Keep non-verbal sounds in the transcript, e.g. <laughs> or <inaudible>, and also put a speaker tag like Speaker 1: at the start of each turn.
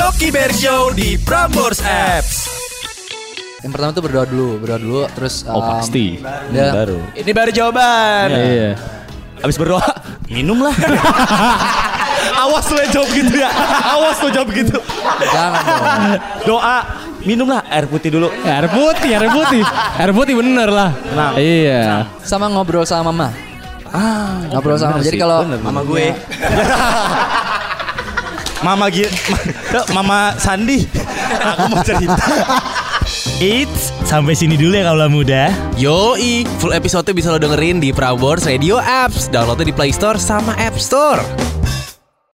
Speaker 1: Oki Bear Show di Prambors Apps.
Speaker 2: Yang pertama tuh berdoa dulu, berdoa dulu terus ya,
Speaker 3: Oh
Speaker 2: um,
Speaker 3: pasti.
Speaker 4: Iya.
Speaker 2: dia-
Speaker 3: Baru.
Speaker 1: Ini baru jawaban.
Speaker 3: Iya. Abis berdoa minum lah.
Speaker 1: <laughs> Awas lo yang jawab gitu ya. Awas lo jawab gitu.
Speaker 2: Jangan dong.
Speaker 3: Doa minum lah air putih dulu.
Speaker 4: Eh, Air putih, air putih. Air putih bener lah.
Speaker 3: Nah.
Speaker 4: Iya.
Speaker 2: Sama ngobrol sama mama. Ah,
Speaker 3: Oh,
Speaker 2: ngobrol sama mama. Jadi kalau
Speaker 1: Mama gue.
Speaker 3: Mama Gi- Mama Sandi. Aku mau cerita. It's sampai sini dulu ya kalau muda.
Speaker 1: Yoi, full episode bisa lo dengerin di Prambors Radio Apps. Downloadnya di Play Store sama App Store.